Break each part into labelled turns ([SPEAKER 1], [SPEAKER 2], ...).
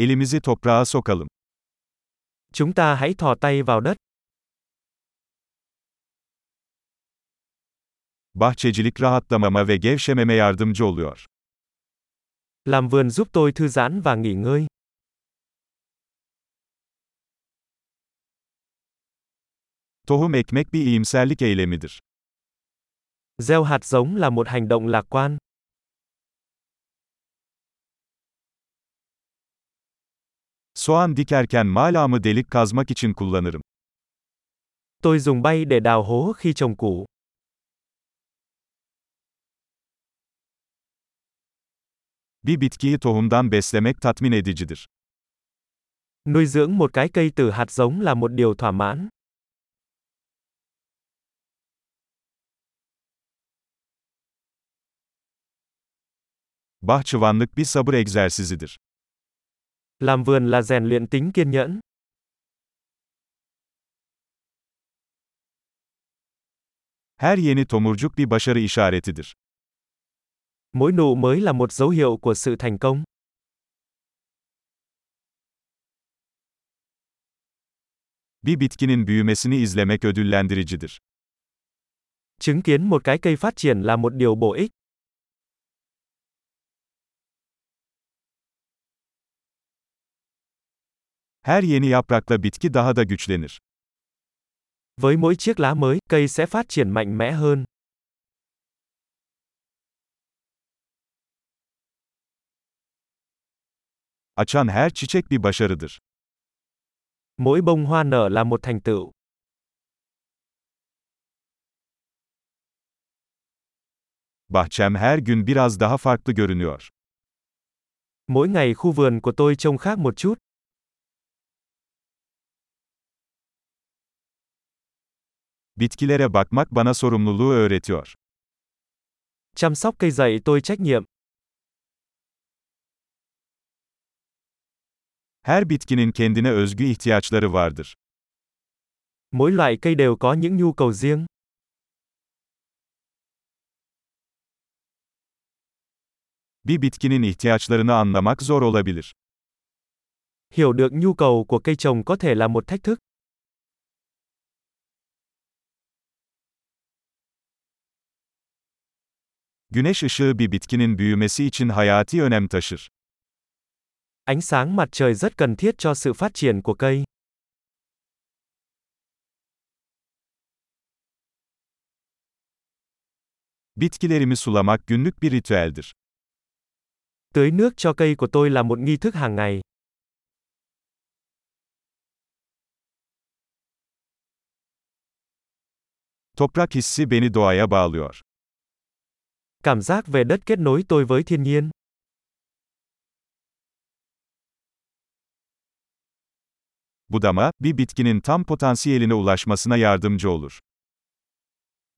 [SPEAKER 1] Elimizi toprağa sokalım.
[SPEAKER 2] Chúng ta hãy thò tay vào đất.
[SPEAKER 1] Bahçecilik rahatlamama ve gevşememe yardımcı oluyor.
[SPEAKER 2] Làm vườn giúp tôi thư giãn và nghỉ ngơi.
[SPEAKER 1] Tohum ekmek bir iyimserlik eylemidir.
[SPEAKER 2] Gieo hạt giống là một hành động lạc quan.
[SPEAKER 1] Soğan dikerken malamı delik kazmak için kullanırım.
[SPEAKER 2] Tôi dùng bay để đào hố khi trồng củ.
[SPEAKER 1] Bir bitkiyi tohumdan beslemek tatmin edicidir.
[SPEAKER 2] Nuôi dưỡng một cái cây từ hạt giống là một điều thỏa mãn.
[SPEAKER 1] Bahçıvanlık bir sabır egzersizidir.
[SPEAKER 2] Làm vườn là rèn luyện tính kiên nhẫn.
[SPEAKER 1] Her yeni tomurcuk bir başarı işaretidir.
[SPEAKER 2] Mỗi nụ mới là một dấu hiệu của sự thành công.
[SPEAKER 1] Bir bitkinin büyümesini izlemek ödüllendiricidir.
[SPEAKER 2] Chứng kiến một cái cây phát triển là một điều bổ ích.
[SPEAKER 1] Her yeni yaprakla bitki daha da güçlenir.
[SPEAKER 2] Với mỗi chiếc lá mới, cây sẽ phát triển mạnh mẽ hơn.
[SPEAKER 1] Açan her çiçek bir başarıdır.
[SPEAKER 2] Mỗi bông hoa nở là một thành tựu.
[SPEAKER 1] Bahçem her gün biraz daha farklı görünüyor.
[SPEAKER 2] Mỗi ngày khu vườn của tôi trông khác một chút.
[SPEAKER 1] Bitkilere bakmak bana sorumluluğu öğretiyor.
[SPEAKER 2] Chăm sóc cây dạy tôi trách nhiệm.
[SPEAKER 1] Her bitkinin kendine özgü ihtiyaçları vardır.
[SPEAKER 2] Mỗi loại cây đều có những nhu cầu riêng.
[SPEAKER 1] Bir bitkinin ihtiyaçlarını anlamak zor olabilir.
[SPEAKER 2] Hiểu được nhu cầu của cây trồng có thể là một thách thức.
[SPEAKER 1] Güneş ışığı bir bitkinin büyümesi için hayati önem taşır.
[SPEAKER 2] Ánh sáng mặt trời rất cần thiết cho sự phát triển của cây.
[SPEAKER 1] Bitkilerimi sulamak günlük bir ritüeldir.
[SPEAKER 2] Tưới nước cho cây của tôi là một nghi thức hàng ngày.
[SPEAKER 1] Toprak hissi beni doğaya bağlıyor.
[SPEAKER 2] Cảm giác về đất kết nối tôi với thiên nhiên.
[SPEAKER 1] Budama, bir bitkinin tam potansiyeline ulaşmasına yardımcı olur.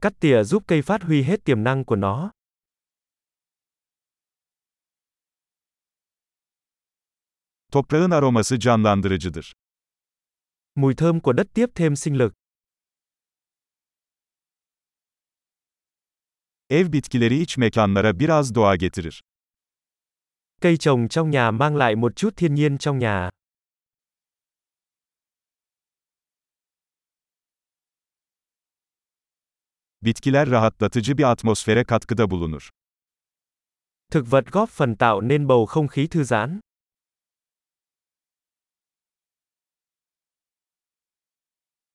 [SPEAKER 2] Cắt tỉa giúp cây phát huy hết tiềm năng của nó.
[SPEAKER 1] Toprağın aroması canlandırıcıdır.
[SPEAKER 2] Mùi thơm của đất tiếp thêm sinh lực.
[SPEAKER 1] Ev bitkileri iç mekanlara biraz doğa getirir.
[SPEAKER 2] Cây trồng trong nhà mang lại một chút thiên nhiên trong nhà.
[SPEAKER 1] Bitkiler rahatlatıcı bir atmosfere katkıda bulunur.
[SPEAKER 2] Thực vật góp phần tạo nên bầu không khí thư giãn.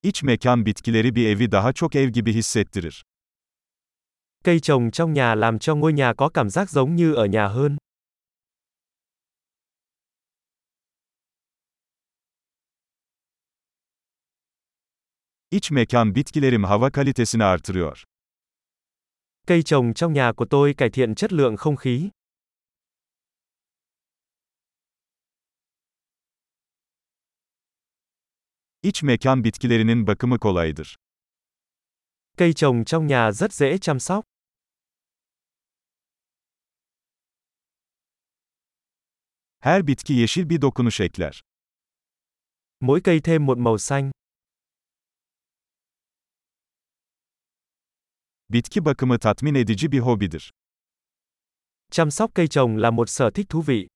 [SPEAKER 1] İç mekan bitkileri bir evi daha çok ev gibi hissettirir.
[SPEAKER 2] Cây trồng trong nhà làm cho ngôi nhà có cảm giác giống như ở nhà hơn.
[SPEAKER 1] İç mekan bitkilerim hava kalitesini artırıyor.
[SPEAKER 2] Cây trồng trong nhà của tôi cải thiện chất lượng không khí.
[SPEAKER 1] İç mekan bitkilerinin bakımı kolaydır.
[SPEAKER 2] Cây trồng trong nhà rất dễ chăm sóc.
[SPEAKER 1] Her bitki yeşil bir dokunuş ekler.
[SPEAKER 2] Mỗi cây thêm một màu xanh.
[SPEAKER 1] Bitki bakımı tatmin edici bir hobidir.
[SPEAKER 2] Chăm sóc cây trồng là một sở thích thú vị.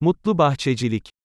[SPEAKER 2] Mutlu bahçecilik